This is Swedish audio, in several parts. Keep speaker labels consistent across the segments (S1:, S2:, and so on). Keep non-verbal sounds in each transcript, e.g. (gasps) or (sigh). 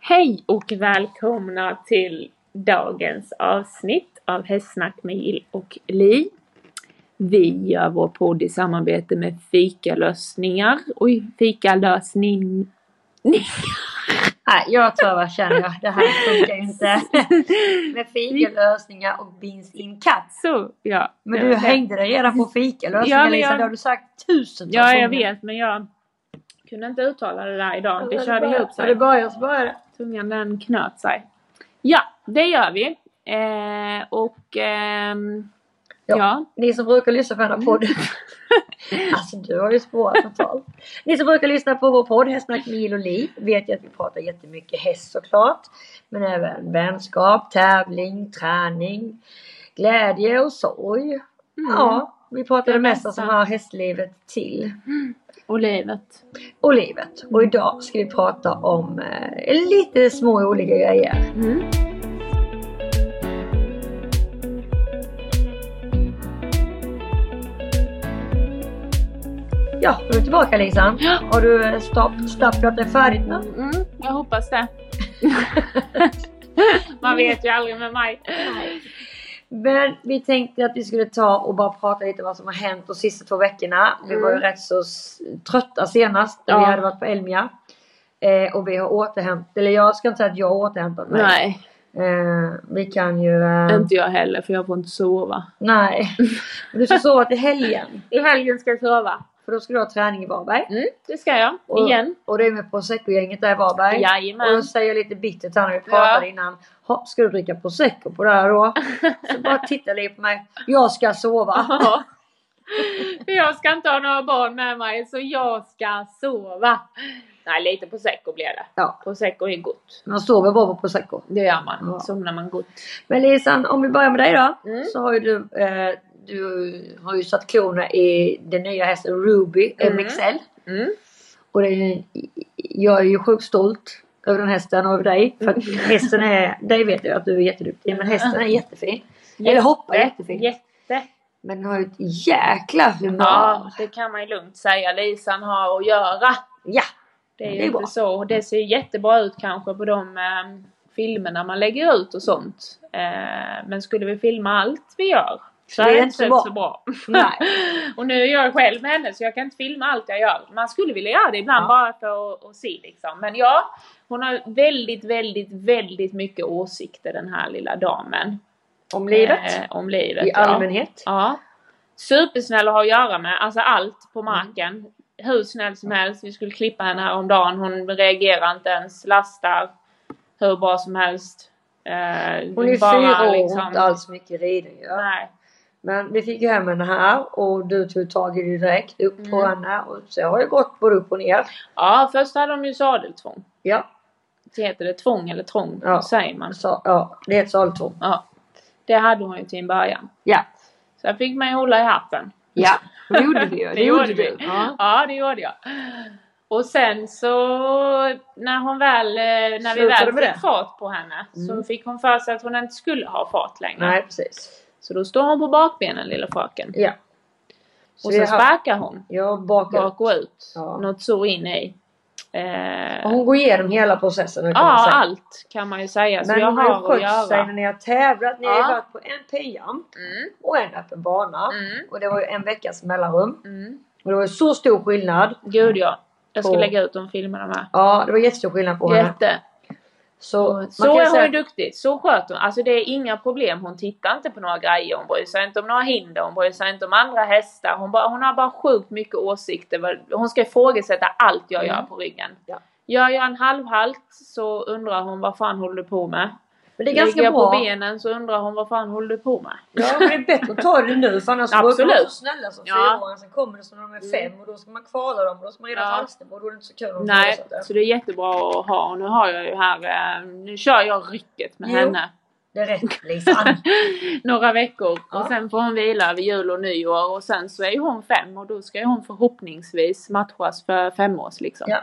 S1: Hej och välkomna till dagens avsnitt av Hästsnack med Jill och Li. Vi gör vår podd i samarbete med Fikalösningar. Oj, Fikalösning...
S2: Nej, jag travar känner jag. Det här funkar ju
S1: (laughs)
S2: inte. Med fikalösningar och beans in cups.
S1: Så, ja.
S2: Men du hängde dig redan på
S1: Ja,
S2: fikalösningar
S1: men
S2: Lisa.
S1: jag-
S2: Det har du sagt tusentals
S1: Ja, jag
S2: gånger.
S1: vet, men jag kunde inte uttala det där idag. Det körde
S2: bara-
S1: ihop sig.
S2: Ja, Det bara jag som började.
S1: tungan den knöt sig. Ja, det gör vi. Eh, och ehm, ja.
S2: Ja. Ni som brukar lyssna på den
S1: Mm.
S2: här podden. (laughs) alltså du har ju spårat totalt. Ni som brukar lyssna på vår podd Hästsnack med Jill och Li vet ju att vi pratar jättemycket häst såklart. Men även vänskap, tävling, träning, glädje och sorg.
S1: Mm.
S2: Ja, vi pratar
S1: Det
S2: det mesta
S1: mesta.
S2: som hör hästlivet till.
S1: och livet.
S2: och livet.
S1: Mm.
S2: Och idag ska vi prata om eh, lite små olika grejer.
S1: Mm.
S2: Ja, nu är du tillbaka Lisa.
S1: Ja.
S2: Har du eh, stapp- stapplat det färdigt nu?
S1: Mm, jag hoppas (laughs) det. Man vet ju aldrig med mig.
S2: Men vi tänkte att vi skulle ta och bara prata lite om vad som har hänt de sista två veckorna. Vi
S1: Mm.
S2: var ju rätt så s- trötta senast. när
S1: Ja.
S2: Vi hade varit på Elmia. Eh, och vi har återhämtat, eller jag ska inte säga att jag har återhämtat mig.
S1: Nej,
S2: Eh, vi kan ju... Eh,
S1: inte jag heller för jag får inte sova. (laughs)
S2: nej. Du ska sova till helgen.
S1: I helgen ska jag sova.
S2: För då ska du ha träning i Varberg.
S1: Mm, det ska jag.
S2: Och-
S1: Igen.
S2: Och det är med prosecco-gänget där i Varberg. Och
S1: Jajamän.
S2: då säger jag lite bittert här när vi pratade innan. "Ha, Ska du dricka prosecco på det här
S1: (laughs)
S2: då? Så bara tittar lite på mig. Jag ska sova.
S1: Ja. (laughs) För jag ska inte ha några barn med mig så jag ska sova. Nej, lite prosecco blir det.
S2: Ja.
S1: Prosecco är gott.
S2: Man sover bara på prosecco.
S1: Det gör man.
S2: Ja.
S1: Somnar man gott.
S2: Men Lisan, om vi börjar med dig då.
S1: Mm.
S2: Så har ju du, eh, du har ju satt klorna i den nya hästen Ruby
S1: Mm.
S2: MXL.
S1: Mm.
S2: Och det är, jag är ju sjukt stolt över den hästen och över dig. För
S1: Mm.
S2: att hästen är, dig vet jag att du är jätteduktig. Men hästen är jättefin. Eller hoppar jättefint.
S1: Jätte.
S2: Men den har ju ett jäkla humör.
S1: Ja, det kan man ju lugnt säga. Lisan har att göra.
S2: ja.
S1: Det är ju
S2: Det är
S1: inte
S2: bra.
S1: så. Det ser ju jättebra ut kanske på de eh, filmerna man lägger ut och sånt. Eh, men skulle vi filma allt vi gör så
S2: Det är
S1: hade det
S2: inte
S1: inte
S2: bra.
S1: sett så bra. (laughs)
S2: Nej.
S1: och nu är jag själv med henne så jag kan inte filma allt jag gör. Man skulle vilja göra det ibland
S2: Ja.
S1: bara för att, att se liksom. Men ja, hon har väldigt, väldigt, väldigt mycket åsikter den här lilla damen.
S2: Om livet.
S1: Eh, om livet.
S2: I
S1: ja.
S2: allmänhet.
S1: Ja. Supersnäll att ha att göra med. Alltså allt
S2: Mm.
S1: på marken. Hur snäll som helst. Vi skulle klippa henne här om dagen. Hon reagerar inte ens. Lastar. Hur bra som helst. Eh,
S2: Hon är
S1: bara
S2: fyra år och
S1: liksom-
S2: inte alls mycket rider ju.
S1: Nej.
S2: Men vi fick ju hem henne här och du tog tag i det direkt. Upp på
S1: Mm.
S2: henne och så har det gått både upp och ner.
S1: Ja, först hade de ju sadeltvång.
S2: Ja,
S1: Det heter det tvång eller trång?
S2: Ja.
S1: Säger man.
S2: så, ja det är ett saltom.
S1: Ja. Det hade hon ju till en början.
S2: Ja.
S1: Så jag fick man ju hålla i hatten.
S2: Ja, det gjorde
S1: (laughs)
S2: vi ju.
S1: Det gjorde vi.
S2: du. Ja.
S1: Ja, det gjorde jag. Och sen så när hon väl, eh, när vi
S2: Slutade
S1: väl
S2: med
S1: fick
S2: det?
S1: fart på henne så
S2: Mm.
S1: fick hon för sig att hon inte skulle ha fart längre.
S2: Nej precis.
S1: Så då står hon på bakbenen lilla fröken.
S2: Ja. Så
S1: Och
S2: vi
S1: så
S2: har haft-
S1: sparkar hon
S2: Ja, bakåt.
S1: bak och ut.
S2: Ja.
S1: Något så in i. Eh,
S2: Och Hon går igenom hela processen nu kan man
S1: ja,
S2: säga.
S1: allt kan man ju säga. Så
S2: Men
S1: jag
S2: hon har ju
S1: har att
S2: skött sig
S1: göra.
S2: när ni har tävlat. Ni har
S1: Ja.
S2: ju varit på en PM
S1: Mm,
S2: och en öppen bana.
S1: mm,
S2: Och det var ju en veckas mellanrum.
S1: mm.
S2: Och det var ju så stor skillnad.
S1: Gud ja. Jag ska
S2: Och-
S1: lägga ut de filmerna med.
S2: Ja, det var jättestor skillnad på henne.
S1: Jätte.
S2: Så, man
S1: Så
S2: kan
S1: är hon
S2: säga
S1: ju duktig. Så sköter hon. Alltså det är inga problem. Hon tittar inte på några grejer. Hon bryr sig inte om några hinder. Hon bryr sig inte om andra hästar. Hon, bara, hon har bara sjukt mycket åsikter. Vad- Hon ska ifrågasätta allt jag gör
S2: Mm.
S1: på ryggen.
S2: Ja.
S1: Gör jag en halvhalt så undrar hon vad fan håller du på med.
S2: Men det är ganska
S1: Ligger jag
S2: bra.
S1: på benen så undrar hon vad fan håller du på med.
S2: Ja, men det är bättre att ta det nu för annars
S1: Absolut.
S2: brukar de vara så snälla som
S1: Ja.
S2: fyraåringar. Sen kommer det som när de är
S1: Mm.
S2: fem och då ska man kvala dem och då ska man rida
S1: Ja.
S2: halsduk och då är det inte så kul om de
S1: Nej,
S2: ifrågasätter.
S1: så det är jättebra att ha. Och nu har jag ju här, eh, nu kör jag rycket med
S2: Jo.
S1: henne.
S2: Det är rätt
S1: (laughs)
S2: liksom. Lisan.
S1: några veckor
S2: Ja.
S1: och sen får hon vila över jul och nyår och sen så är ju hon fem och då ska ju hon förhoppningsvis matchas för femårs liksom.
S2: Ja.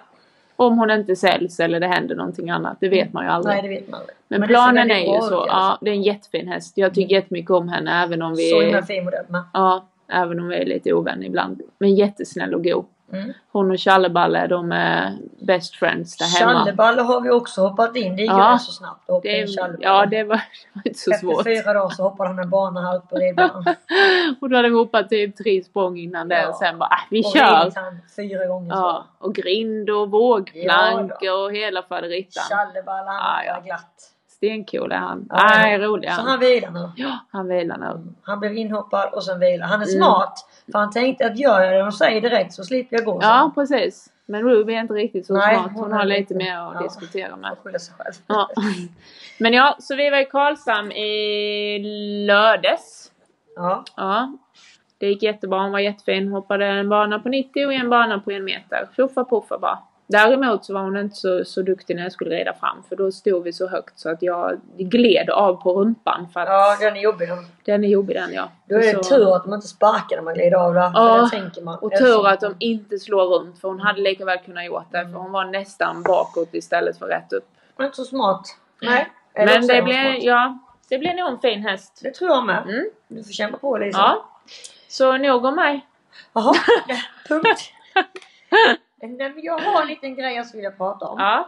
S1: Om hon inte säljs eller det händer någonting annat, det vet man ju aldrig.
S2: Mm. Nej det vet man aldrig.
S1: men,
S2: men det ser
S1: planen
S2: väldigt
S1: är
S2: bra
S1: ju
S2: ut
S1: så.
S2: i alla
S1: Ja, det är en jättefin häst. Jag tycker jättemycket om henne även om
S2: Så himla
S1: vi,
S2: fin modell med.
S1: ja, även om vi är lite ovänner ibland. Men jättesnäll och go.
S2: Mm.
S1: Hon och Challeballe de är best friends där hemma.
S2: Challeballe har vi också hoppat in. Det gick ju
S1: Ja.
S2: rätt så snabbt att hoppa
S1: det,
S2: in Challeballe.
S1: ja, det var, (laughs) det var inte så
S2: Efter
S1: svårt.
S2: fyra dagar så hoppade han en bana här uppe
S1: (laughs)
S2: på ribban.
S1: Och då hade vi hoppat typ tre språng innan det
S2: Ja.
S1: och sen bara, ah, vi
S2: Och
S1: kör!
S2: ringt han fyra gånger. så.
S1: Ja, och grind och vågplank och hela faderittan.
S2: Challeballe han
S1: Ja, ja.
S2: var glatt.
S1: Stencool är han.
S2: Ja.
S1: Nej, rolig är
S2: Så
S1: han.
S2: han Mm. vilar nu.
S1: Ja, han vilar nu.
S2: Han blev inhoppad och sen vilar. Han är
S1: Mm.
S2: smart. För han tänkte att gör jag det de säger direkt så slipper jag gå
S1: Ja, precis. Men Ruby är inte riktigt så
S2: Nej,
S1: smart. Hon,
S2: hon är
S1: har lite
S2: lite-
S1: mer att
S2: ja.
S1: diskutera med.
S2: Och skylla sig själv.
S1: Ja. Men ja, så vi var i Karlshamn i lördags.
S2: (laughs) Ja.
S1: Ja. Det gick jättebra. Hon var jättefin. Hoppade en bana på 90 och en bana på en meter. Tjoffa poffa bara. Däremot så var hon inte så, så duktig när jag skulle rida fram för då stod vi så högt så att jag gled av på rumpan för att
S2: ja, den är jobbig.
S1: den är jobbig den ja.
S2: Då är det
S1: Så-
S2: tur att man inte sparkar när man glider av där.
S1: Ja,
S2: för det tänker man.
S1: Och
S2: Eller så-
S1: tur att de inte slår runt för hon hade lika väl kunnat gjort det för hon var nästan bakåt istället för rätt upp.
S2: Man är inte så smart. Nej.
S1: Mm.
S2: Eller
S1: Men
S2: också är
S1: det
S2: man
S1: blev,
S2: smart.
S1: ja, det blev nog en fin häst.
S2: Det tror jag med.
S1: Mm.
S2: Du får kämpa på Lisa.
S1: Ja. Så nog om mig. (laughs)
S2: Jaha, punkt. Nej, men jag har en liten grej jag skulle vilja prata om.
S1: Ja.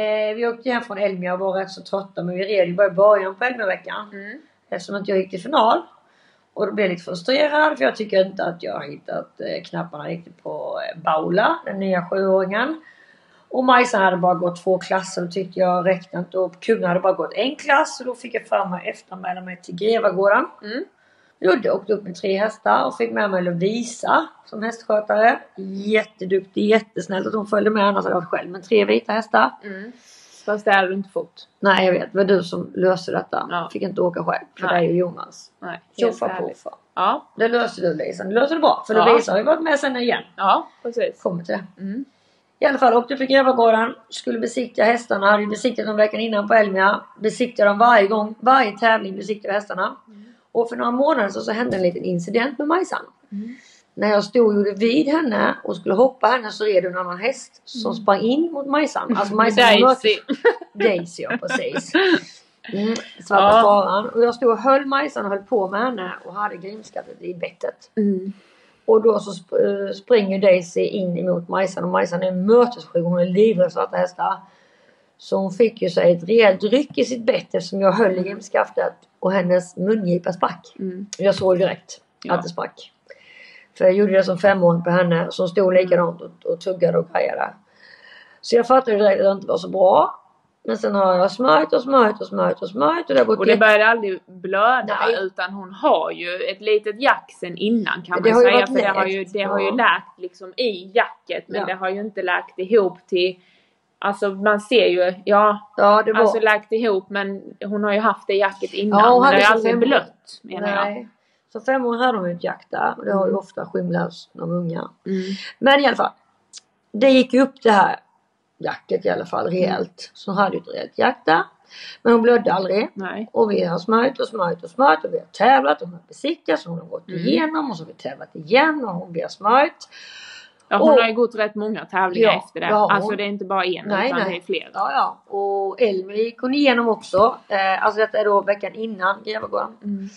S2: Eh, vi åkte hem från Elmia och var rätt så trötta men vi red ju bara i början på Elmia-veckan.
S1: Mm.
S2: Eftersom att jag gick till final. Och då blev jag lite frustrerad för jag tycker inte att jag har hittat eh, knapparna riktigt på eh, Baula, den nya sjuåringen. Och Majsan hade bara gått två klasser och tyckte jag räckte inte upp. Kunga hade bara gått en klass och då fick jag för mig att efteranmäla mig till Grevagården.
S1: Mm.
S2: Ludde åkte upp med tre hästar och fick med mig Lovisa som hästskötare. Jätteduktig, jättesnällt att hon följde med annars hade jag varit själv med tre vita hästar.
S1: Mm. Fast det hade du inte fått.
S2: Nej jag vet, det var du som löste detta.
S1: Ja.
S2: Fick inte åka själv för
S1: Nej.
S2: dig och Jonas.
S1: Nej, helt
S2: Tjoffa
S1: ärligt.
S2: poffa.
S1: Ja,
S2: Det löste du Lisa, det löste du bra. För
S1: Ja.
S2: Lovisa har ju varit med sen igen.
S1: ja precis.
S2: Kommer till det.
S1: Mm.
S2: I alla fall åkte vi till Grävagården, skulle besiktiga hästarna, hade ju besiktigat dem veckan innan på Elmia. Besiktigade dem varje gång, varje tävling besiktigade vi hästarna. Och för några månader sedan så hände en liten incident med Majsan.
S1: Mm.
S2: När jag stod och gjorde vid henne och skulle hoppa henne så red en annan häst som
S1: Mm.
S2: sprang in mot Majsan. Alltså Majsan var mörk-
S1: Daisy.
S2: Daisy ja precis. Mm, svarta
S1: Ja.
S2: faran. Och jag stod och höll Majsan och höll på med henne och hade grimskaftet i bettet.
S1: Mm.
S2: Och då så sp- eh, springer Daisy in emot Majsan och Majsan är mötessjuk. Hon är livrädd för svarta hästar. Så hon fick ju sig ett rejält ryck i sitt bett eftersom jag höll i grimskaftet och hennes mungipa sprack.
S1: Mm.
S2: Jag såg direkt
S1: Ja.
S2: att det sprack. För jag gjorde det som femåring på henne som stod likadant och, och tuggade och grejade. Så jag fattade direkt att det inte var så bra. Men sen har jag smörjt och smörjt och smörjt och smörjt och det har gått
S1: Och det
S2: jätte-
S1: började aldrig blöda
S2: Nej.
S1: utan hon har ju ett litet jack sen innan kan
S2: Det
S1: man
S2: har ju
S1: säga.
S2: varit
S1: För det har
S2: läkt,
S1: ju, det har ju
S2: ja.
S1: läkt liksom i jacket men
S2: Ja.
S1: det har ju inte läkt ihop till Alltså man ser ju, ja,
S2: Ja det var...
S1: alltså läkt ihop men hon har ju haft det jacket innan.
S2: Ja, hon
S1: hon har
S2: hade
S1: ju
S2: så
S1: aldrig
S2: fem-
S1: blött menar jag.
S2: Nej. Så fem år hade hon ju ett jack där. Och det har ju
S1: Mm.
S2: ofta skymlats de unga.
S1: Mm.
S2: Men i alla fall. Det gick ju upp det här jacket i alla fall rejält. Så hon hade ju ett rejält jack där. Men hon blödde aldrig.
S1: Nej.
S2: Och vi har smörjt och smörjt och smörjt och vi har tävlat och hon har besiktat och hon har gått
S1: Mm.
S2: igenom och så har vi tävlat igen och hon blir smörjt.
S1: Ja, hon
S2: Och-
S1: har ju gått rätt många tävlingar
S2: Ja,
S1: efter det.
S2: det har hon.
S1: alltså det är inte bara en
S2: Nej,
S1: utan
S2: nej.
S1: det är flera.
S2: Ja, ja. Och Elmi gick hon igenom också. Eh, alltså detta är då veckan innan Grevagården.
S1: Mm.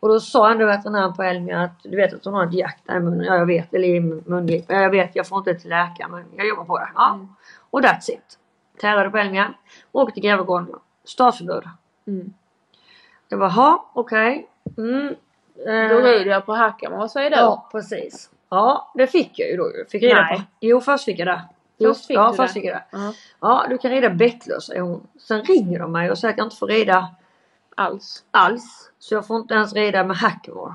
S2: Och då sa ändå veterinären på Elmia att du vet att hon har ett jack där i munnen. Ja, jag vet. Eller i mungipan. Ja, jag vet. Jag får inte till läkaren men jag jobbar på det. Ja.
S1: Mm.
S2: Och that's it. Tävlade på Elmia. Åkte till Grevagården. Stadsförbud.
S1: Mm.
S2: Jag bara, jaha, okej. Mm. Eh,
S1: Då rider jag på hackan, vad säger du?
S2: Ja, precis. Ja, det fick jag ju då. ju. Fick reda
S1: Nej.
S2: på. Jo, först fick jag det. Jo,
S1: Först fick
S2: ja,
S1: du
S2: först
S1: det.
S2: fick jag det.
S1: Ja,
S2: Ja, du kan rida bettlös, säger hon. Sen ringer de mig och säger att jag inte får rida
S1: alls.
S2: alls. Så jag får inte ens rida med hack var.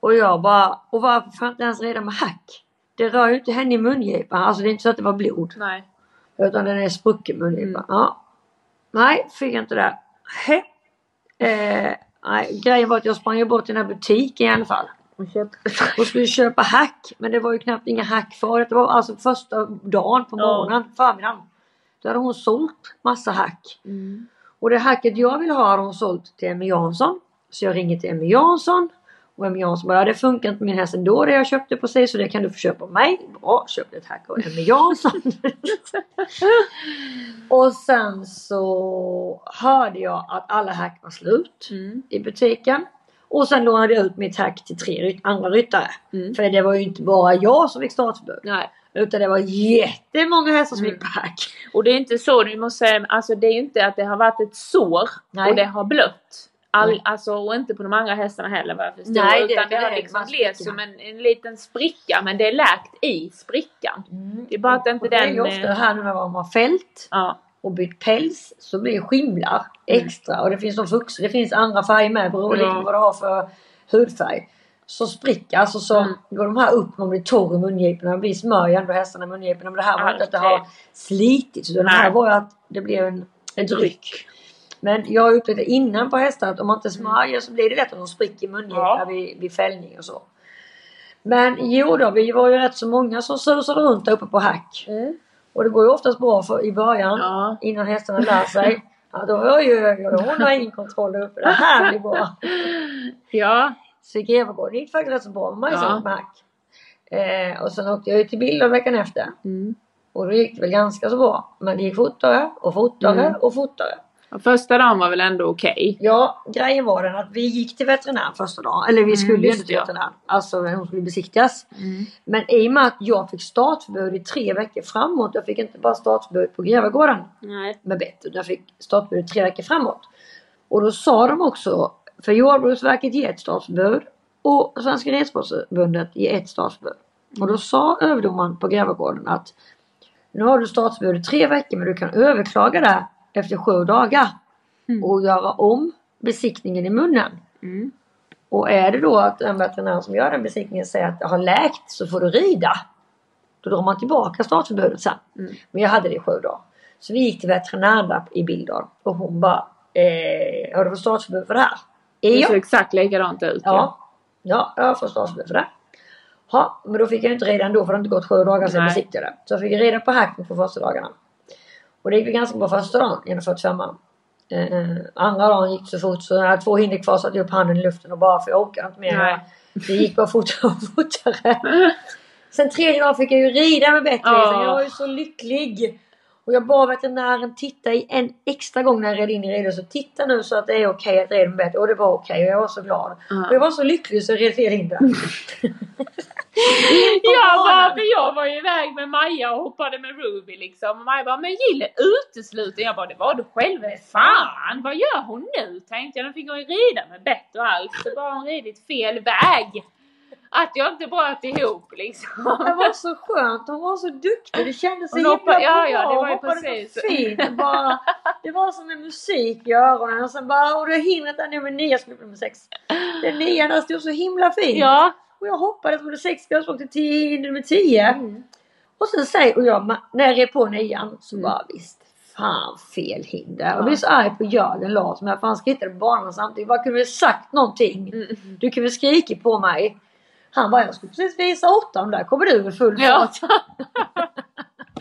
S2: Och jag bara, och varför får jag inte ens rida med hack? Det rör ju inte henne i mungipan. Alltså det är inte så att det var blod.
S1: Nej.
S2: Utan den är sprucken mungipan.
S1: Mm.
S2: Ja. Nej, fick jag inte det. Hä? Eh, nej, grejen var att jag sprang ju bort till den här butiken i alla fall. Och skulle köpa hack. Men det var ju knappt inga hack för. Det var alltså första dagen på
S1: Ja.
S2: morgonen, förmiddagen. Då hade hon sålt massa hack.
S1: Mm.
S2: Och det hacket jag vill ha har hon sålt till Emmy Jansson. Så jag ringer till Emmy Jansson. Och Emmy Jansson bara, "Ja, det funkar inte på min häst ändå det jag köpte precis så det kan du få köpa av mig. Bra, köpte ett hack av Emmy Jansson. (laughs) och sen så hörde jag att alla hack var slut
S1: Mm.
S2: i butiken. Och sen lånade jag ut mitt hack till tre ry- andra ryttare.
S1: Mm.
S2: För det var ju inte bara jag som fick startförbud.
S1: Nej.
S2: Utan det var jättemånga hästar som
S1: Mm.
S2: gick på hack.
S1: Och det är inte så, du måste säga, alltså det är ju inte att det har varit ett sår
S2: Nej.
S1: och det har blött. All,
S2: Nej.
S1: Alltså, och inte på de andra hästarna heller vad jag förstår.
S2: Nej, det-
S1: utan det,
S2: det
S1: har
S2: är
S1: liksom
S2: bara
S1: blivit
S2: sprickorna.
S1: som en, en liten spricka, men det är läkt i sprickan. Mm. Det är bara att inte
S2: och det är ju
S1: den,
S2: ofta
S1: eh,
S2: här nu när man har fält
S1: Ja.
S2: och bytt päls så blir skimlar
S1: Mm.
S2: extra och det finns, de fux, det finns andra färger med beroende
S1: Ja.
S2: på vad du har för hudfärg. Så spricker, alltså så
S1: Mm.
S2: går de här upp, man blir torr i mungiporna, man blir smörj ändå hästarna i mungiporna. Men det här var inte att det
S1: Alltid.
S2: har slitits utan det här
S1: Nej.
S2: var ju att det blev en, ett ryck. Men jag har upptäckt innan på hästar att om man inte smörjer så blir det lätt att de spricker i mungiporna
S1: Mm. Ja.
S2: vid, vid fällning och så. Men jo då, vi var ju rätt så många som susade runt där uppe på hack.
S1: Mm.
S2: Och det går ju oftast bra för, i början
S1: Ja.
S2: innan hästarna lär sig. Ja, då var ju hon har ingen kontroll över det här blir bra.
S1: ja.
S2: Så i Grevegården gick faktiskt rätt så bra med
S1: Ja.
S2: Majsan ja. eh, Och sen åkte jag ju till Billund veckan efter.
S1: Mm.
S2: Och då gick det väl ganska så bra. Men det gick fortare och fortare
S1: Mm.
S2: och fortare.
S1: Och Första dagen var väl ändå okej?
S2: Ja, grejen var den att vi gick till veterinären första dagen. Eller vi
S1: Mm,
S2: skulle ju
S1: just
S2: inte till
S1: det.
S2: veterinären. Alltså när hon skulle besiktigas. Men i och med att jag fick startförbud i tre veckor framåt. Jag fick inte bara startförbud på Grevegården.
S1: Nej.
S2: med bett. Och Jag fick startförbud tre veckor framåt. Och då sa de också, för Jordbruksverket ger ett startförbud och Svenska Ridsportförbundet ger ett startförbud. Och då sa överdomaren på Grävagården att nu har du startförbud i tre veckor men du kan överklaga det efter sju dagar
S1: Mm.
S2: och göra om besiktningen i munnen.
S1: Mm.
S2: Och är det då att en veterinär som gör den besiktningen säger att det har läkt så får du rida. Då drar man tillbaka startförbudet sen.
S1: Mm.
S2: Men jag hade det i sju dagar. Så vi gick till veterinären där i Billdal och hon bara eh, Har du fått startförbud för det här?
S1: Det
S2: Ja.
S1: såg exakt likadant ut.
S2: Ja, ja jag har fått startförbud för det. Ja, men då fick jag inte rida ändå för det hade inte gått sju dagar sedan jag
S1: Nej.
S2: besiktade. Så jag fick rida på hacken på första dagarna. Och det gick väl ganska bra första dagen genom 45 eh, Andra dagen gick det så fort så jag hade två hinder kvar satte jag upp handen i luften och bara för jag orkade inte mer.
S1: Nej.
S2: Det gick bara fortare och fortare. Sen tredje dagen fick jag ju rida med bättre
S1: Ja.
S2: Jag var ju så lycklig. Och jag bad veterinären titta i en extra gång när jag red in i ridhuset. Titta nu så att det är okej att rida med bättre. Och det var okej och jag var så glad.
S1: Ja.
S2: Och jag var så lycklig så jag red
S1: (laughs)
S2: fel hinder.
S1: Ja, bara,
S2: morgonen.
S1: för jag var ju iväg med Maja och hoppade med Ruby liksom. Och Maja bara, men Jill är utesluten. Jag bara, det var du själv. Fan, vad gör hon nu? Tänkte jag. Nu fick hon ju rida med bett och allt. Så bara hon ridit fel väg. Att jag inte bröt ihop liksom.
S2: Det var så skönt. Hon var så duktig. Det kändes så
S1: Hon
S2: himla
S1: hoppade-
S2: bra.
S1: ja, ja, det var ju
S2: Hon hoppade
S1: precis.
S2: så fint. och Bara, det var som en musik i öronen. Och sen bara, och du har hindrat där nummer nio skulle bli nummer sex. Den nian där stod så himla fint.
S1: Ja.
S2: Och jag hoppades på nummer sex. Jag såg till tio, hinder nummer tio. Och sen säger och jag, ma- när jag red på nian så
S1: Mm.
S2: bara visst. Fan fel hinder.
S1: Ja.
S2: Jag blev så arg på Jörgen Larsson. Men för han hittade banan samtidigt. Vad kunde du sagt någonting?
S1: Mm.
S2: Du kunde skrika på mig. Han bara, jag skulle precis visa åttan. Där kommer du med full fart.
S1: Ja.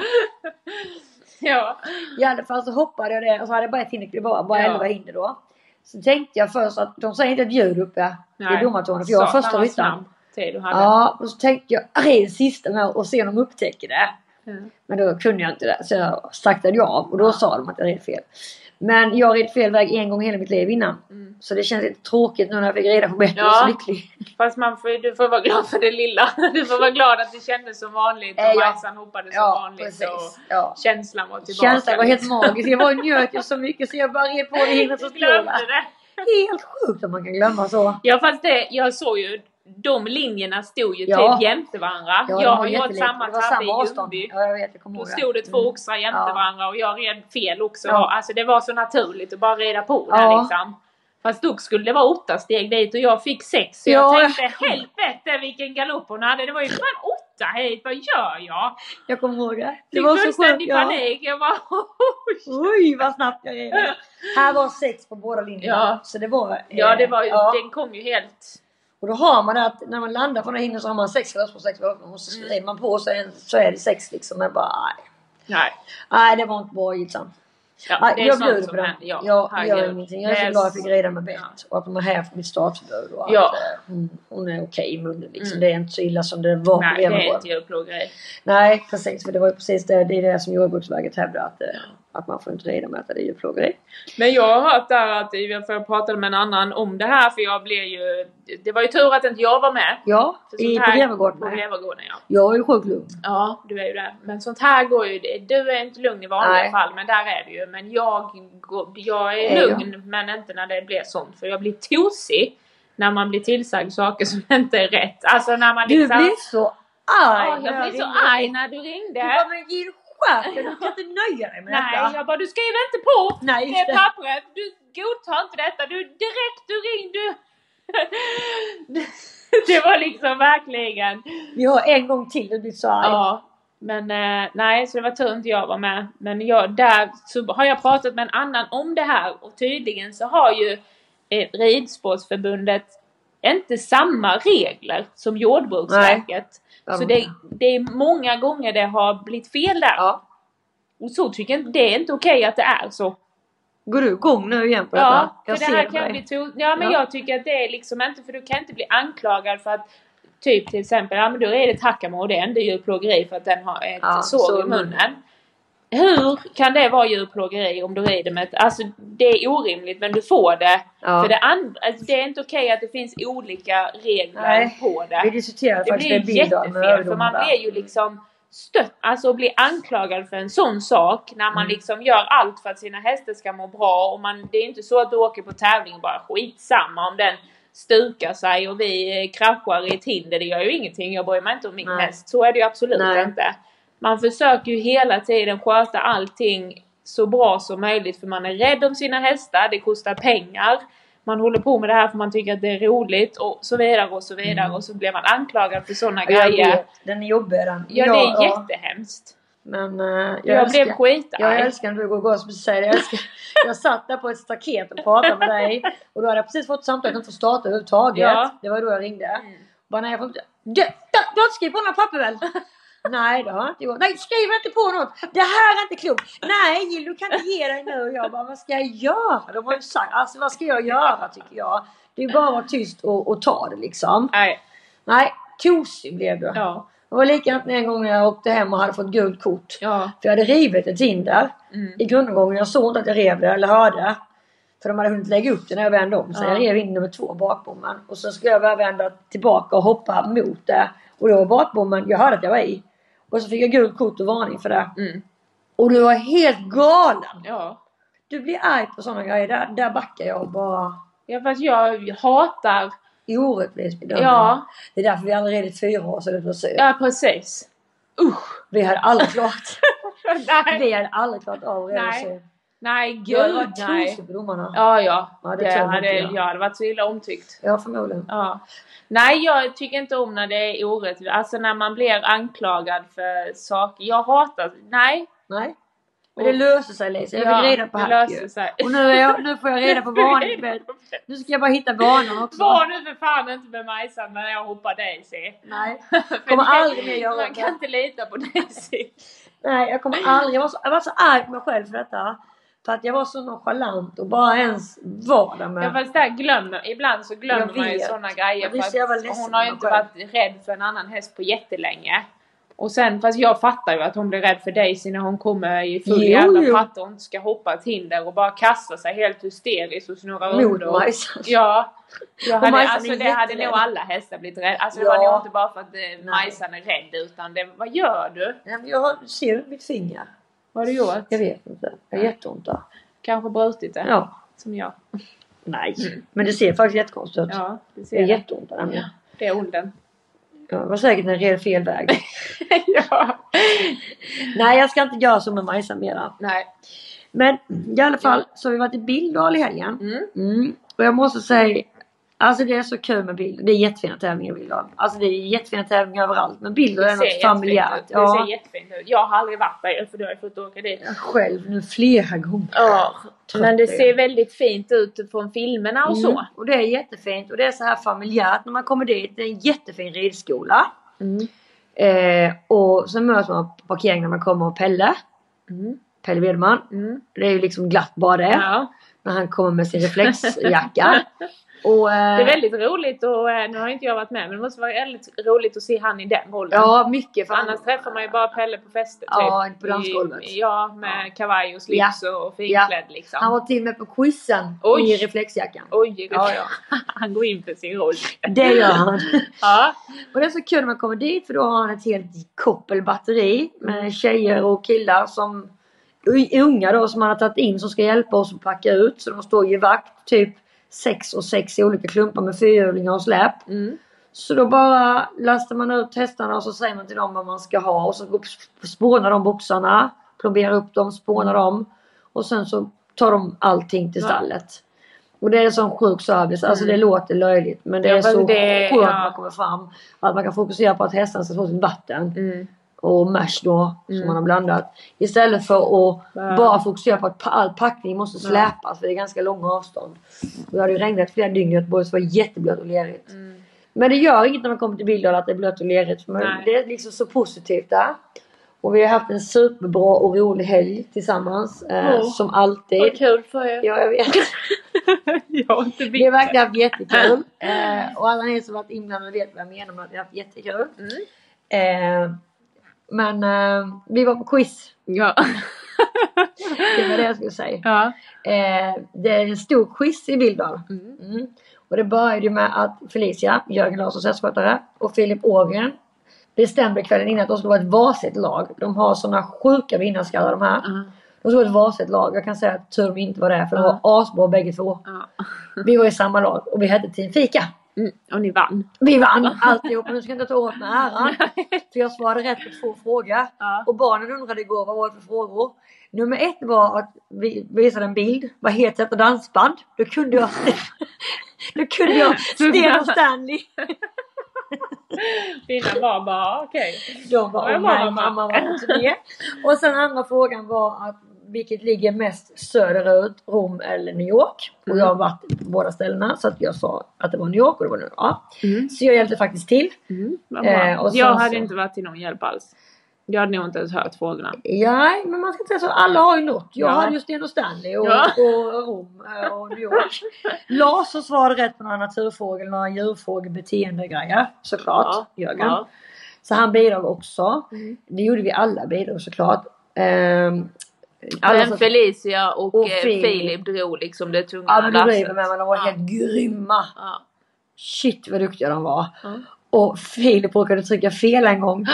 S1: (laughs) ja.
S2: I alla fall så hoppade jag det och så hade jag bara ett hinder, det var bara
S1: Ja.
S2: 11 hinder då. Så tänkte jag först att de säger inte ett ljud uppe
S1: Nej.
S2: i domartornet för jag var
S1: Satan,
S2: första
S1: vad
S2: ryttaren.
S1: snabb Tid du hade.
S2: Ja, och så tänkte jag "Ah, red sista med och se om de upptäcker det.
S1: Mm.
S2: Men då kunde jag inte det så jag saktade jag av och då sa de att jag red fel. Men jag red fel väg en gång hela mitt liv innan.
S1: Mm.
S2: Så det känns lite tråkigt nu när jag fick reda på bättre. Jag var
S1: Ja.
S2: så lycklig.
S1: Fast man får, du får vara glad för det lilla. (laughs) Du får vara glad att det kändes som vanligt och
S2: Eh, ja.
S1: Majsan hoppade som
S2: Ja,
S1: vanligt. Och...
S2: precis. Ja.
S1: Känslan var tillbaka.
S2: Känslan var helt magisk. Jag var njöt ju så mycket så jag bara red på det hindret
S1: (laughs)
S2: så
S1: Jag
S2: stod där.
S1: glömde det.
S2: Helt sjukt att man kan glömma så.
S1: Ja fast det, jag såg ju, de linjerna stod ju
S2: Ja.
S1: typ jämte varandra. jag
S2: Ja, de
S1: har
S2: var
S1: ju gjort
S2: jättelika.
S1: samma
S2: Det var
S1: tabbe i
S2: samma avstånd.
S1: Ljungby.
S2: Ja, jag vet. Jag kommer
S1: Då
S2: ihåg
S1: stod det två
S2: Mm.
S1: oxar jämte
S2: Ja.
S1: varandra och jag red fel också.
S2: Ja.
S1: Alltså det var så naturligt att bara rida på där
S2: Ja.
S1: liksom. Fast dock skulle det vara åtta steg dit och jag fick sex. Så
S2: Ja.
S1: jag tänkte helvete vilken galopp hon hade. Det var ju fan åtta hit, vad gör jag?
S2: Jag kommer ihåg det. Det
S1: Fick
S2: var så skönt.
S1: fullständig
S2: Ja.
S1: panik. Jag bara (laughs)
S2: Oj vad snabbt jag red. Här var sex på båda linjerna.
S1: Ja.
S2: Så det var... eh,
S1: Ja det var ju, den kom ju helt...
S2: Och då har man det att när man landar från det hindret så har man sex glas på sex glas. Och
S1: Mm.
S2: så skriver man på så är, så är det sex liksom. Men bara nej.
S1: Nej.
S2: Nej det var inte bra Gilsan.
S1: Ja,
S2: Nej,
S1: det är
S2: jag
S1: sånt
S2: bjuder på
S1: som
S2: den.
S1: händer.
S2: Ja,
S1: Ja,
S2: jag gör
S1: herregud.
S2: ingenting. Jag är
S1: Det
S2: så
S1: är
S2: glad att
S1: så-
S2: jag fick rida med Bett.
S1: Ja.
S2: Och att de har hävt mitt startförbud. Och att
S1: Ja.
S2: eh, hon, hon är okej i munnen liksom.
S1: Mm.
S2: Det är inte så illa som det var
S1: Nej, det
S2: på
S1: är
S2: Grenagården.
S1: inte djurplågeri.
S2: Nej precis, för det var ju precis det, det, är det som Jordbruksverket hävdade att eh, Att man får inte rida med att det är djurplågeri.
S1: Men jag har hört där att, för jag pratade med en annan om det här för jag blev ju... Det var ju tur att inte jag var med.
S2: Ja,
S1: För sånt
S2: i, på
S1: här-
S2: Grevergården.
S1: På
S2: nej.
S1: Grevergården ja.
S2: Jag är ju sjukt lugn.
S1: Ja, du är ju där. Men sånt här går ju... Du är inte lugn i vanliga
S2: Nej.
S1: fall, men där är du ju. Men jag, går- jag
S2: Är
S1: är
S2: jag.
S1: lugn, men inte när det blir sånt. För jag blir tosig när man blir tillsagd saker som (laughs) inte är rätt. Alltså när man
S2: Du
S1: liksom...
S2: blir så
S1: Ja,
S2: arg!
S1: jag blir så
S2: ringde.
S1: arg när du
S2: Du
S1: ringde.
S2: bara, men Jill skärp dig! Du kan inte nöja dig med
S1: Nej,
S2: detta.
S1: jag bara du skriver inte på
S2: Nej, just
S1: det
S2: det.
S1: pappret. Du godtar inte detta. Du direkt, du ringde. Du... (laughs) det var liksom verkligen...
S2: Vi har en gång till du blir så arg.
S1: Ja, men eh, nej, så det var tur inte jag var med. Men jag, där så har jag pratat med en annan om det här och tydligen så har ju eh, Ridsportförbundet inte samma regler som Jordbruksverket.
S2: Ja,
S1: Så
S2: men-
S1: det, det är många gånger det har blivit fel där.
S2: Ja.
S1: Och så tycker jag inte- det är inte okej att det är så.
S2: Går du igång nu igen på detta?
S1: Ja, för
S2: Jag
S1: det
S2: ser
S1: här kan
S2: dig.
S1: bli to- Ja, men
S2: Ja.
S1: jag tycker att det är liksom inte, för du kan inte bli anklagad för att typ till exempel, ja men då är det Takamo och det är ändå djurplågeri för att den har ett
S2: Ja, så
S1: sår
S2: i
S1: i
S2: munnen.
S1: munnen. Hur kan det vara djurplågeri om du rider med ett... Alltså det är orimligt men du får det.
S2: Ja.
S1: För det, and- alltså, det är inte okej att det finns olika regler
S2: Nej,
S1: på det.
S2: Vi diskuterade
S1: Det
S2: faktiskt
S1: blir
S2: en bild av
S1: jättefel för man
S2: överdomarna.
S1: blir ju liksom stött, alltså blir anklagad för en sån sak när man
S2: Mm.
S1: liksom gör allt för att sina hästar ska må bra och man, det är inte så att du åker på tävling och bara skitsamma om den stukar sig och vi eh, kraschar i ett hinder, det gör ju ingenting, jag bryr mig inte om min
S2: Nej.
S1: häst. Så är det ju absolut
S2: Nej.
S1: inte. Man försöker ju hela tiden sköta allting så bra som möjligt för man är rädd om sina hästar, det kostar pengar. Man håller på med det här för man tycker att det är roligt och så vidare och så vidare
S2: Mm.
S1: och så blir man anklagad för sådana
S2: Ja, jag
S1: grejer.
S2: vet. Den är jobbig den.
S1: Ja, det är
S2: Ja, ja.
S1: jättehemskt.
S2: Men eh, jag,
S1: Jag,
S2: älskar,
S1: blev skitarg.
S2: jag älskar när du går igång som du säger. Jag, älskar, jag satt där på ett staket och pratade med dig. Och då hade jag precis fått samtalet inte får starta överhuvudtaget.
S1: Ja.
S2: Det var då jag ringde.
S1: Mm.
S2: Bara nej jag får inte. Du, du, du har inte skrivit på några papper väl? (laughs) Nej det har jag inte gjort. Nej skriv inte på något! Det här är inte klokt! Nej Jill du kan inte ge dig nu. Jag bara vad ska jag göra? De har ju sagt, alltså vad ska jag göra tycker jag. Det är ju bara att vara tyst och, och ta det liksom.
S1: Nej,
S2: Nej, tosig blev du.
S1: ja.
S2: Det var likadant en gång när jag åkte hem och hade fått gult kort.
S1: Ja.
S2: För jag hade rivit ett hinder
S1: Mm.
S2: i grundomgången. Jag såg inte att jag rev det eller hörde. För de hade hunnit lägga upp det när jag vände om. Så
S1: Ja.
S2: jag rev in nummer två, bakbommen. Och så skulle jag bara vända tillbaka och hoppa mot det. Och då var bakbommen, jag hörde att jag var i. Och så fick jag gult kort och varning för det.
S1: Mm.
S2: Och du var helt galen!
S1: ja.
S2: Du blir arg på sådana grejer. Där, där backar jag och bara.
S1: Ja, fast jag hatar...
S2: I orättvis bedömning.
S1: Ja,
S2: Det är därför vi aldrig ridit fyra år så det blir syr.
S1: ja precis. Usch! (laughs)
S2: Vi hade aldrig klarat
S1: nej,
S2: Vi hade aldrig klarat av
S1: Nej,
S2: redan
S1: nej gud
S2: Jag var
S1: nej.
S2: trosig på domarna.
S1: Ja,
S2: Ja.
S1: ja.
S2: Ja, det
S1: det
S2: tror jag
S1: hade,
S2: inte jag.
S1: jag hade varit så illa omtyckt.
S2: förmodligen.
S1: Ja. Nej, jag tycker inte om när det är orättvist. Alltså när man blir anklagad för saker. Jag hatar... Nej.
S2: Nej. Men det löser sig Lisa. Jag
S1: Ja,
S2: fick reda på
S1: det
S2: hack
S1: löser
S2: ju.
S1: sig.
S2: Och nu, är jag, nu får jag reda på
S1: (laughs)
S2: vanligt bett. Nu ska jag bara hitta banan också.
S1: Var nu för fan inte med Majsan när jag hoppar Daisy.
S2: Nej.
S1: För
S2: (laughs) Kommer
S1: det-
S2: aldrig mer göra
S1: Man
S2: det.
S1: kan inte lita på (laughs) Daisy.
S2: Nej, jag kommer aldrig... Jag var, så, jag var så arg på mig själv för detta. För att jag var så nonchalant och bara ens var där
S1: Ja,
S2: med.
S1: fast där glömmer, ibland så glömmer
S2: Jag
S1: man ju
S2: vet.
S1: sådana grejer.
S2: Jag
S1: För
S2: blir så jävla
S1: att
S2: ledsen
S1: hon har ju
S2: på mig
S1: inte
S2: själv.
S1: varit rädd för en annan häst på jättelänge. Och sen, fast jag fattar ju att hon blir rädd för Daisy när hon kommer i full
S2: Jo,
S1: jävla
S2: jo.
S1: patte och inte ska hoppa ett hinder och bara kastar sig helt hysteriskt och snurrar
S2: Mot
S1: runt. och-
S2: Majsan.
S1: Ja. Jag
S2: Och
S1: hade,
S2: Majsan
S1: alltså,
S2: är
S1: det hade
S2: jätterädd.
S1: nog alla hästar blivit rädda. Alltså, det
S2: Ja.
S1: var nog inte bara för att eh, Majsan är rädd utan det, vad gör du?
S2: Nej, men Jag ser ju mitt finger.
S1: Vad har du gjort?
S2: Jag vet inte. Jag har jätteont där.
S1: Kanske brutit det?
S2: Ja.
S1: Som jag.
S2: Nej. Men det ser faktiskt jättekonstigt ut.
S1: Ja, det
S2: Det är
S1: ser jag.
S2: jätteont där. Ja.
S1: Det är
S2: (laughs)
S1: onden.
S2: Jag var säkert när jag red fel väg.
S1: ja.
S2: Nej, jag ska inte göra så med Majsan mera.
S1: Nej.
S2: Men i alla fall så har vi varit i Billdal i helgen.
S1: Mm.
S2: Mm. Och jag måste säga, alltså det är så kul med Billdal. Det är jättefina tävlingar i Billdal. Alltså det är jättefina tävlingar överallt. Men Billdal är något familjärt.
S1: ut. Det ser
S2: Ja,
S1: jättefint ut. Jag har aldrig varit där för du har ju fått åka dit.
S2: jag själv nu flera gånger.
S1: Ja.
S2: Trött
S1: Men det
S2: är jag.
S1: ser väldigt fint ut från filmerna och så.
S2: Mm. Och det är jättefint och det är så här familjärt när man kommer dit. Det är en jättefin ridskola.
S1: Mm.
S2: Eh, och så möts man på parkeringen när man kommer av Pelle.
S1: Mm.
S2: Pelle Wedman.
S1: Mm.
S2: Det är ju liksom glatt bara det.
S1: Ja. (laughs)
S2: när han kommer med sin reflexjacka. Och, eh,
S1: Det är väldigt roligt och eh, nu har inte jag varit med men det måste vara väldigt roligt att se han i den rollen.
S2: Ja, mycket.
S1: För annars träffar man ju bara Pelle på fester
S2: Ja,
S1: typ.
S2: på dansgolvet.
S1: I- Ja, med kavaj och slips och finklädd liksom.
S2: Han var till och med på quizen
S1: Oj.
S2: i reflexjackan.
S1: Oj,
S2: Ja, ja.
S1: (laughs) han går in för sin roll.
S2: Det gör han.
S1: Ja,
S2: (laughs) Och det är så kul när man kommer dit för då har han ett helt koppel batteri med tjejer och killar som u- unga då som han har tagit in som ska hjälpa oss att packa ut. Så de står ju vakt typ sex och sex i olika klumpar med fyrhjulingar och släp.
S1: mm.
S2: Så då bara lastar man ut hästarna och så säger man till dem vad man ska ha och så går- spånar de boxarna, plomberar upp dem, spånar dem och sen så tar de allting till
S1: Ja.
S2: stallet. Och det är en sån sjuk service, alltså
S1: Mm.
S2: det låter löjligt men det
S1: Ja,
S2: är
S1: fast
S2: så
S1: det-
S2: skönt
S1: ja.
S2: när man kommer fram. Att man kan fokusera på att hästarna ska få sitt vatten
S1: Mm.
S2: och mash då
S1: Mm.
S2: som man har blandat. Istället för att
S1: Ja.
S2: bara fokusera på att pa- all packning måste
S1: Ja.
S2: släpas för det är ganska långa avstånd. Och det hade ju regnat flera dygn i Göteborg så det var jätteblött och lerigt.
S1: Mm.
S2: Men det gör inget när man kommer till Billdal att det är blött och lerigt. Men
S1: Nej.
S2: det är liksom så positivt där. Och vi har haft en superbra och rolig helg tillsammans. Eh,
S1: Åh.
S2: som alltid.
S1: Vad kul för er.
S2: Ja, jag vet.
S1: (laughs) jag har inte
S2: Vi har verkligen haft jättekul. Eh, och alla ni som varit inblandade vet vad jag menar med att vi har haft jättekul.
S1: Mm.
S2: Eh, men eh, vi var på quiz.
S1: Ja.
S2: Det var det jag skulle säga.
S1: ja.
S2: Eh, det är en stor quiz i Billdal.
S1: Mm.
S2: Mm. Och det började ju med att Felicia, Jörgen Larssons hästskötare och Filip Ågren bestämde kvällen innan att de skulle vara ett varsitt lag. De har såna sjuka vinnarskallar de här.
S1: Ja.
S2: De skulle vara ett varsitt lag. Jag kan säga att tur vi inte var det för de
S1: Ja.
S2: var asbra bägge två.
S1: Ja.
S2: Vi var i samma lag och vi hette Team Fika.
S1: Mm. Och ni vann.
S2: Vi vann alltihop men nu ska jag inte ta åt mig äran. För jag svarade rätt på två frågor.
S1: Ja. (laughs)
S2: Och barnen undrade igår vad var det för frågor. Nummer ett var att vi visade en bild. Vad heter detta dansband? Då kunde jag... (laughs) Då
S1: (laughs)
S2: kunde jag Sten och Stanley.
S1: Dina var bara "Ah, okej.
S2: De var
S1: Ja, jag
S2: oh,
S1: var
S2: nej,
S1: mamma."
S2: mamma var inte med. Och sen andra frågan var att vilket ligger mest söderut, Rom eller New York? Och jag har
S1: Mm.
S2: varit på båda ställena så att jag sa att det var New York och det var New York. Ja.
S1: Mm.
S2: Så jag hjälpte faktiskt till.
S1: Mm. Vad bra.
S2: Eh, och sen
S1: jag hade
S2: så-
S1: inte varit till någon hjälp alls. Jag hade nog inte ens hört frågorna.
S2: Ja, men man ska inte säga så. Alla har ju något. Jag
S1: Ja.
S2: hade ju Sten och Stanley och,
S1: Ja.
S2: och Rom eh, och
S1: (laughs)
S2: New York. Lars som svarade rätt på några naturfågel, några djurfrågor, beteendegrejer. Såklart, Jörgen.
S1: Ja.
S2: Så han bidrog också.
S1: Mm.
S2: Det gjorde vi alla bidrog såklart. Ehm, alla
S1: Men
S2: som-
S1: Felicia och,
S2: Och
S1: eh,
S2: Filip.
S1: Filip drog liksom det tunga
S2: Ja men du driver
S1: lasset.
S2: med men de var
S1: Ja.
S2: helt grymma.
S1: Ja.
S2: Shit vad duktiga de var.
S1: Ja.
S2: Och Filip råkade trycka fel en
S1: (gasps)
S2: gång.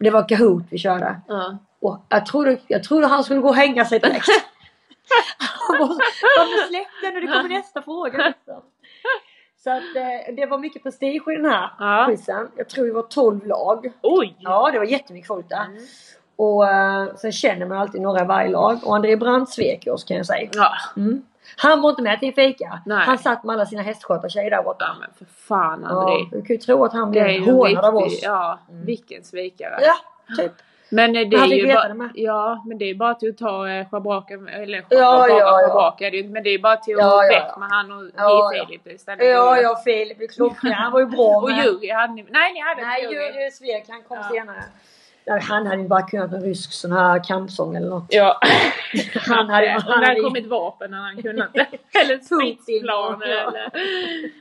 S2: Det var Kahoot vi körde.
S1: Ja.
S2: Och jag, trodde, jag trodde han skulle gå och hänga sig direkt. Han var så, Varför släpp den nu? Det kommer nästa fråga. liksom." Så att, eh, det var mycket prestige i den här
S1: Ja.
S2: quizen. Jag tror vi var 12 lag.
S1: Oj!
S2: Ja, det var jättemycket folk där.
S1: Mm.
S2: Och eh, sen känner man alltid några i varje lag. Och André Brandt svek oss kan jag säga.
S1: Ja.
S2: Mm. Han var inte med till en fika.
S1: Nej.
S2: Han satt med alla sina hästskötartjejer där borta.
S1: ja men för fan
S2: Ja,
S1: André.
S2: du kan ju tro att han
S1: Det är
S2: blev
S1: ju en
S2: hånad av
S1: riktig,
S2: oss. Ja,
S1: ja,
S2: Mm.
S1: vilken svikare.
S2: typ.
S1: Men eh, det
S2: Men han
S1: är
S2: fick
S1: ju
S2: veta
S1: bara,
S2: det med.
S1: ja, men det är bara till att ta eh, schabraken, eller
S2: Ja,
S1: schabrak,
S2: ja, ja.
S1: schabrak är det ju inte, men det är bara till att
S2: Ja, ja,
S1: väck
S2: ja.
S1: med han och
S2: Ja,
S1: ge
S2: ja.
S1: Filip istället.
S2: Ja, ja, Filip är klockren. Han var ju bra
S1: Och
S2: med.
S1: jury hade ni, nej ni hade
S2: Nej,
S1: inte jury.
S2: Julius svek. Han kom
S1: Ja.
S2: senare. Nej, Han hade ju bara kunnat en rysk sån här kampsång eller något.
S1: (laughs) Ja.
S2: Han hade,
S1: Om
S2: han
S1: det hade
S2: hade
S1: kommit vapen hade han kunnat (laughs) Eller stridsplan
S2: Ja.
S1: eller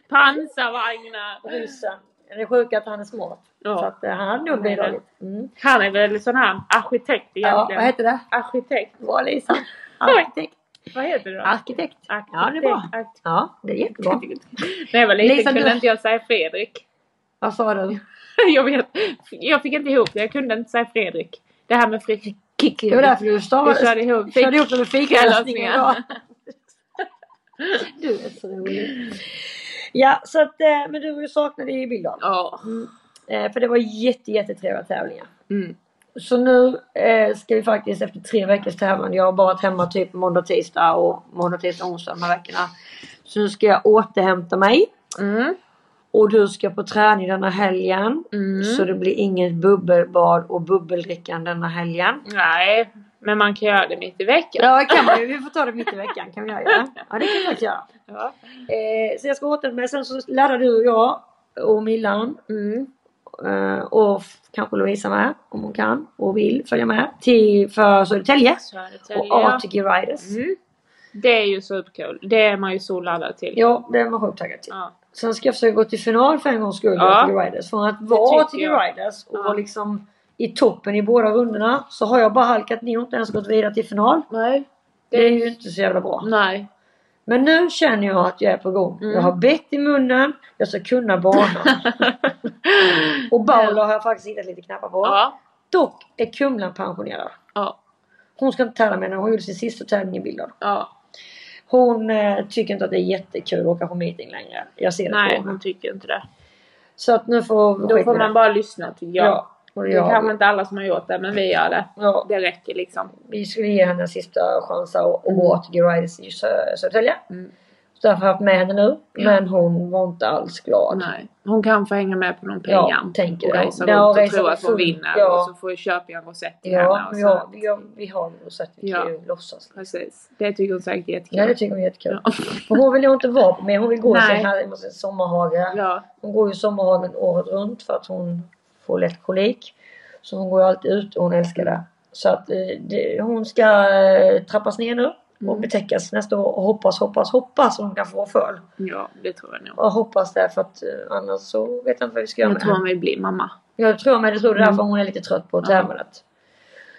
S1: pansarvagnar.
S2: ryssen. Det är sjukt att han är smart. Så
S1: Ja.
S2: att, eh, han hade nog bidragit. Mm.
S1: Han är väl sån här arkitekt
S2: Ja,
S1: egentligen.
S2: vad heter det?
S1: Arkitekt.
S2: Vad Lisa?
S1: Oj.
S2: Arkitekt.
S1: Vad heter det då?
S2: Arkitekt.
S1: Arkitekt.
S2: Ja, det är bra.
S1: Arkitekt.
S2: Ja, det är jättebra.
S1: När jag var liten
S2: Lisa,
S1: kunde
S2: du-
S1: inte jag säga Fredrik. (laughs)
S2: Vad sa du?
S1: Jag vet. Jag fick inte ihop det. Jag kunde inte säga Fredrik. Det här med Fredrik.
S2: Det var därför du
S1: Vi
S2: stavade.
S1: körde ihop.
S2: Körde ihop det med fikalösningen
S1: Fikalösningen.
S2: idag. Du är så rolig. Ja, så att, eh, men du var ju saknad i Billdal.
S1: (laughs) Ja.
S2: Eh, För det var jätte, jättetrevliga tävlingar.
S1: Mm.
S2: Så nu eh, ska vi faktiskt efter tre veckors tävlan, jag har bara varit hemma typ måndag, tisdag och måndag, tisdag, onsdag de här veckorna. Så nu ska jag återhämta mig.
S1: Mm.
S2: Och du ska på träning denna helgen.
S1: Mm.
S2: Så det blir inget bubbelbad och bubbeldrickan denna helgen.
S1: Nej, men man kan göra det mitt i veckan.
S2: Ja det kan man ju, vi får ta det mitt i veckan kan vi göra det? Ja det kan vi faktiskt göra.
S1: Ja.
S2: Eh, så jag ska återhämta mig, sen så laddar du och jag och Millan
S1: Mm.
S2: eh, och f- kanske Lovisa med om hon kan och vill följa med till för Södertälje
S1: Så är det till,
S2: och
S1: ja.
S2: ATG Riders.
S1: Mm. Det är ju superkul. Det är man ju så laddad till.
S2: Ja, det är man sjukt taggad till.
S1: Ja.
S2: Sen ska jag försöka gå till final för en gångs skull
S1: Ja.
S2: ja. Riders. Från att vara
S1: tycker
S2: till
S1: jag.
S2: Riders och
S1: Ja.
S2: vara liksom i toppen i båda rundorna så har jag bara halkat ner och inte ens gått vidare till final.
S1: Nej.
S2: Det är
S1: Mm.
S2: ju inte så jävla bra.
S1: Nej.
S2: Men nu känner jag att jag är på gång.
S1: Mm.
S2: Jag har bett i munnen, jag ska
S1: (laughs)
S2: kunna banan. och Paula har jag faktiskt hittat lite knappar på.
S1: Ja.
S2: Dock är Kumlan pensionerad.
S1: Ja.
S2: Hon ska inte tävla med henne. Hon gjorde sin sista tävling i Billard.
S1: Ja.
S2: Hon eh, tycker inte att det är jättekul att åka på meeting längre. Jag ser det
S1: Nej,
S2: på henne.
S1: man tycker inte det.
S2: Så att nu får
S1: Då får man bara lyssna tycker jag.
S2: Ja. och det
S1: Det
S2: gör
S1: kanske
S2: vi.
S1: inte alla som har gjort det, men vi gör det.
S2: Ja.
S1: Det räcker liksom.
S2: vi skulle ge henne en sista chans att att gå till Gurides i Sö- Södertälje.
S1: Mm.
S2: Så därför har jag haft med henne nu.
S1: Ja.
S2: Men hon var inte alls glad.
S1: Nej. Hon kan få hänga med på någon
S2: Ja,
S1: pengar.
S2: tänker
S1: och
S2: jag.
S1: resa
S2: Ja,
S1: runt och
S2: resa
S1: tro att hon
S2: runt.
S1: vinner.
S2: Ja.
S1: Och så får jag köpa en rosett till henne.
S2: Ja,
S1: Och så.
S2: ja, ja, vi har nog sett vi kan
S1: Ja.
S2: ju låtsas.
S1: Precis. Det tycker hon säkert är jättekul.
S2: Ja det tycker hon är jättekul.
S1: Ja.
S2: För hon vill ju inte vara på mig. Hon vill gå i
S1: Nej.
S2: sin här- sin sommarhage.
S1: Ja.
S2: Hon går ju i sommarhagen året runt för att hon får lätt kolik. Så hon går ju alltid ut och hon älskar det. Så att eh, det, hon ska eh, trappas ner nu. Och
S1: Mm.
S2: betäckas nästa år och hoppas, hoppas, hoppas hon kan få föl.
S1: ja, det tror jag nog.
S2: Jag hoppas det för att eh, annars så vet jag inte vad vi ska göra
S1: Jag
S2: med
S1: tror
S2: henne.
S1: hon vill bli mamma.
S2: Jag tror med det tror det är
S1: Mm.
S2: därför hon är lite trött på
S1: Ja.
S2: tävlandet.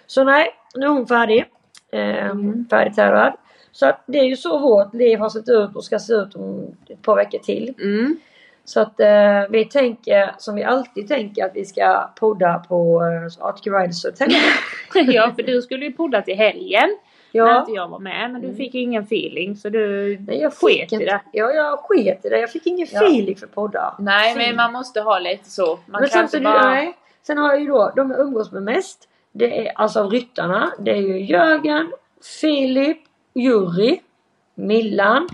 S2: Så nej, nu är hon färdig. Eh,
S1: Mm.
S2: Färdigtävlad. Så att det är ju så vårt liv har sett ut och ska se ut om ett par veckor till.
S1: Mm.
S2: Så att eh, vi tänker som vi alltid tänker att vi ska podda på eh, Arctic
S1: (laughs)
S2: Riders Hotel.
S1: ja, för du skulle ju podda till helgen. När
S2: Ja.
S1: inte jag var med. Men du
S2: Mm.
S1: fick ju ingen feeling så du...
S2: Nej, jag
S1: Sket
S2: fick
S1: i
S2: inte,
S1: det.
S2: Ja, jag sket i det. Jag fick ingen
S1: Ja.
S2: feeling för poddar.
S1: Nej,
S2: Feeling.
S1: men man måste ha lite så. Man
S2: men
S1: kan inte
S2: sen,
S1: bara...
S2: nej, sen har jag ju då, de jag umgås med mest, det är alltså av ryttarna, det är ju Jörgen, Filip, Juri, Millan.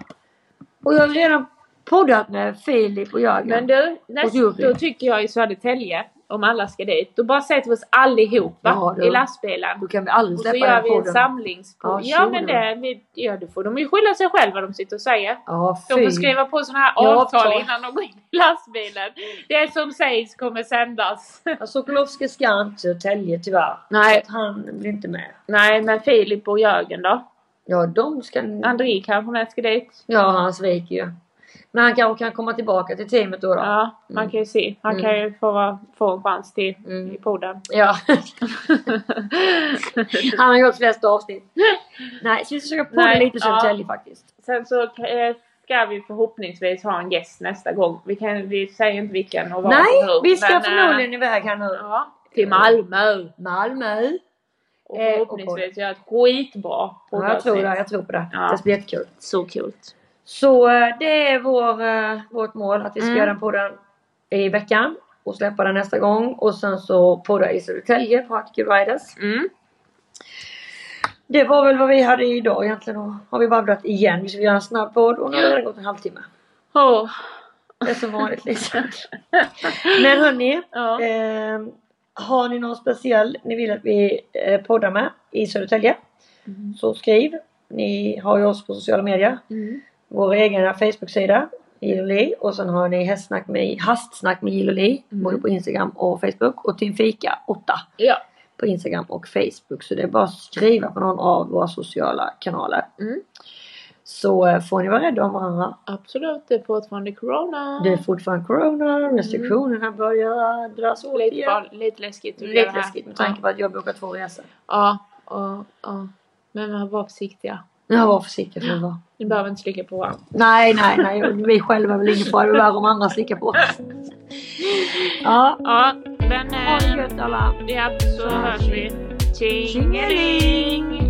S2: Och jag har redan poddat med Filip och Jörgen.
S1: Men du, näst,
S2: Och jury.
S1: då tycker jag i Södertälje, om alla ska dit, då bara sätter vi oss allihopa
S2: Ja, du.
S1: i lastbilen.
S2: då kan vi aldrig
S1: Och så
S2: släppa
S1: gör
S2: den
S1: vi en
S2: podden.
S1: samlingspodd.
S2: Ja,
S1: Ja,
S2: tjo
S1: men
S2: då.
S1: det, vi, ja, då får de ju skylla sig själva vad de sitter och säger.
S2: Ja,
S1: De får skriva på sådana här
S2: Ja,
S1: avtal
S2: avtal.
S1: innan de går in i lastbilen. Det som sägs kommer sändas.
S2: Ja, Sokolovski ska inte Alltså, till Södertälje tyvärr.
S1: Nej,
S2: Han blir inte med.
S1: nej men Filip och Jörgen då?
S2: Ja, de ska...
S1: Mm. André kanske med ska dit?
S2: Ja, han sviker ju. Men han kanske kan komma tillbaka till teamet då. då.
S1: Ja, man
S2: Mm.
S1: kan ju se. Han kan ju få, vara- få en chans till
S2: Mm.
S1: i podden. (laughs)
S2: Ja. Han har gjort flest avsnitt. Nej, så vi ska försöka podda
S1: Nej,
S2: lite
S1: ja.
S2: Södertälje faktiskt.
S1: Sen så eh, ska vi förhoppningsvis ha en gäst nästa gång. Vi, kan, vi säger inte vilken och var
S2: Nej,
S1: och hur,
S2: vi ska
S1: men, eh,
S2: förmodligen iväg här nu.
S1: Ja, till Malmö.
S2: Malmö.
S1: Och
S2: Eh, och
S1: förhoppningsvis göra ett skitbra
S2: Ja, jag
S1: poddavsnitt.
S2: tror det. Jag tror på det.
S1: Ja.
S2: Det ska bli jättekul.
S1: Så kul.
S2: Så eh, det är vår, eh, vårt mål att vi ska
S1: Mm.
S2: göra den podden i veckan och släppa den nästa gång och sen så podda i Södertälje på Arctic Riders.
S1: Mm.
S2: Det var väl vad vi hade idag egentligen och har vi babblat igen. Vi ska göra en snabb podd och nu har det gått en halvtimme.
S1: Åh,
S2: Det är som
S1: (laughs)
S2: vanligt liksom. Men hörni,
S1: ja.
S2: Ehm, har ni någon speciell ni vill att vi eh, poddar med i Södertälje?
S1: Mm.
S2: Så skriv. Ni har ju oss på sociala medier.
S1: Mm.
S2: Vår egna Facebook-sida, Jill och Li. Och sen har ni hästsnack med, hastsnack med Jill och Li.
S1: Mm.
S2: Både på Instagram och Facebook. Och Team Fika 8
S1: Ja.
S2: på Instagram och Facebook. Så det är bara att skriva på någon av våra sociala kanaler.
S1: Mm.
S2: Så eh, får ni vara rädda om varandra.
S1: Absolut, det är fortfarande corona.
S2: Det är fortfarande Corona. Restriktionerna börjar dras åt
S1: lite,
S2: igen.
S1: far, lite läskigt. att göra
S2: Lite
S1: det här.
S2: läskigt med tanke på att jag bokar två resor.
S1: Ja, ja, ja. Men man var försiktiga.
S2: Jag var försiktig för att vara.
S1: Ni behöver inte slicka på varandra.
S2: Nej, nej, nej. Vi själva är väl ingen fara. Det är värre om andra slickar (laughs) på oss. Ja,
S1: Ja, men...
S2: ha det
S1: Eh,
S2: gött alla.
S1: ja, så hörs vi. Tjingeling!